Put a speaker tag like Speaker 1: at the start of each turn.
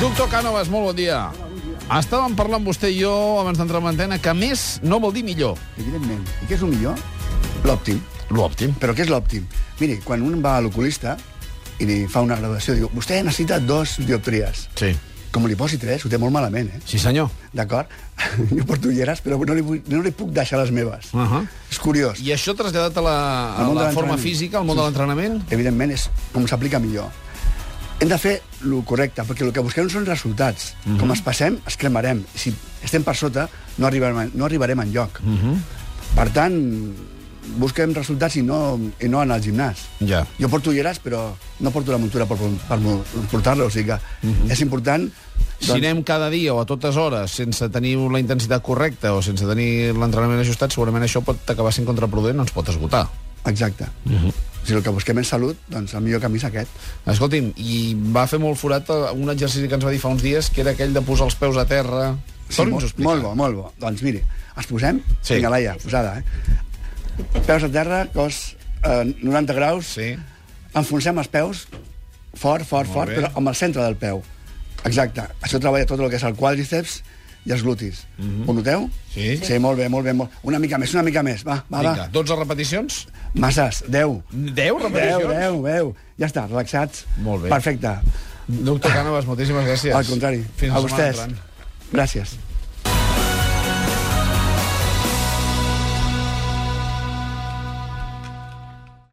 Speaker 1: Doctor Cànovas, molt bon dia. Estàvem parlant vostè i jo abans d'entrar en antena que més no vol dir millor.
Speaker 2: Evidentment. I què és el millor? L'òptim.
Speaker 1: L'òptim.
Speaker 2: Però què és l'òptim? Miri, quan un va a l'oculista i li fa una graduació, diu, vostè necessita dos dioptries.
Speaker 1: Sí.
Speaker 2: Com li posi tres, ho té molt malament, eh?
Speaker 1: Sí, senyor.
Speaker 2: D'acord? Jo porto ulleres, però no li, vull, no li puc deixar les meves.
Speaker 1: Ahà.
Speaker 2: És curiós.
Speaker 1: Ah. I això traslladat a la,
Speaker 2: Al
Speaker 1: a
Speaker 2: món de
Speaker 1: la forma
Speaker 2: l'entrenament.
Speaker 1: física, al món de l'entrenament?
Speaker 2: evidentment, és com s'aplica millor. Hem de fer el correcte, perquè el que busquem són resultats. Mm -hmm. Com es passem, es cremarem. Si estem per sota, no arribarem, no arribarem enlloc. Mm -hmm. Per tant, busquem resultats i no, i no anar al gimnàs.
Speaker 1: Ja.
Speaker 2: Jo porto ulleres, però no porto la muntura per, per portar-la, o sigui que mm -hmm. és important...
Speaker 1: Si
Speaker 2: doncs
Speaker 1: anem cada dia o a totes hores sense tenir la intensitat correcta o sense tenir l'entrenament ajustat, segurament això pot acabar sent contraproduent, ens pot esgotar.
Speaker 2: Exacte. Mm -hmm. Si el que busquem és salut, doncs el millor camí és aquest.
Speaker 1: Escolti'm, i va fer molt forat eh, un exercici que ens va dir fa uns dies, que era aquell de posar els peus a terra.
Speaker 2: Sí,
Speaker 1: Torni'ns-ho a
Speaker 2: molt,
Speaker 1: explicar.
Speaker 2: molt bo, molt bo. Doncs miri, ens posem?
Speaker 1: Sí.
Speaker 2: Vinga, Laia, posada, eh? Peus a terra, cos eh, 90 graus.
Speaker 1: Sí.
Speaker 2: Enfonsem els peus, fort, fort,
Speaker 1: Molt
Speaker 2: fort,
Speaker 1: bé.
Speaker 2: però amb el centre del peu. Exacte. Això treballa tot el que és el quàdriceps i els glutis. Mm -hmm. Ho noteu?
Speaker 1: Mhm. Sí.
Speaker 2: Sí, molt bé, molt bé. Molt... Una mica més, una mica més. Va, va,
Speaker 1: Vinga,
Speaker 2: va.
Speaker 1: 12 repeticions?
Speaker 2: Masses, 10.
Speaker 1: 10
Speaker 2: 10,
Speaker 1: repeticions?
Speaker 2: 10, 10. Ja està, relaxats.
Speaker 1: Molt bé.
Speaker 2: Perfecte.
Speaker 1: Doctor Cànovas, moltíssimes gràcies.
Speaker 2: Al contrari.
Speaker 1: Fins
Speaker 2: a
Speaker 1: la setmana
Speaker 2: vostès.
Speaker 1: entrant.
Speaker 2: Gràcies.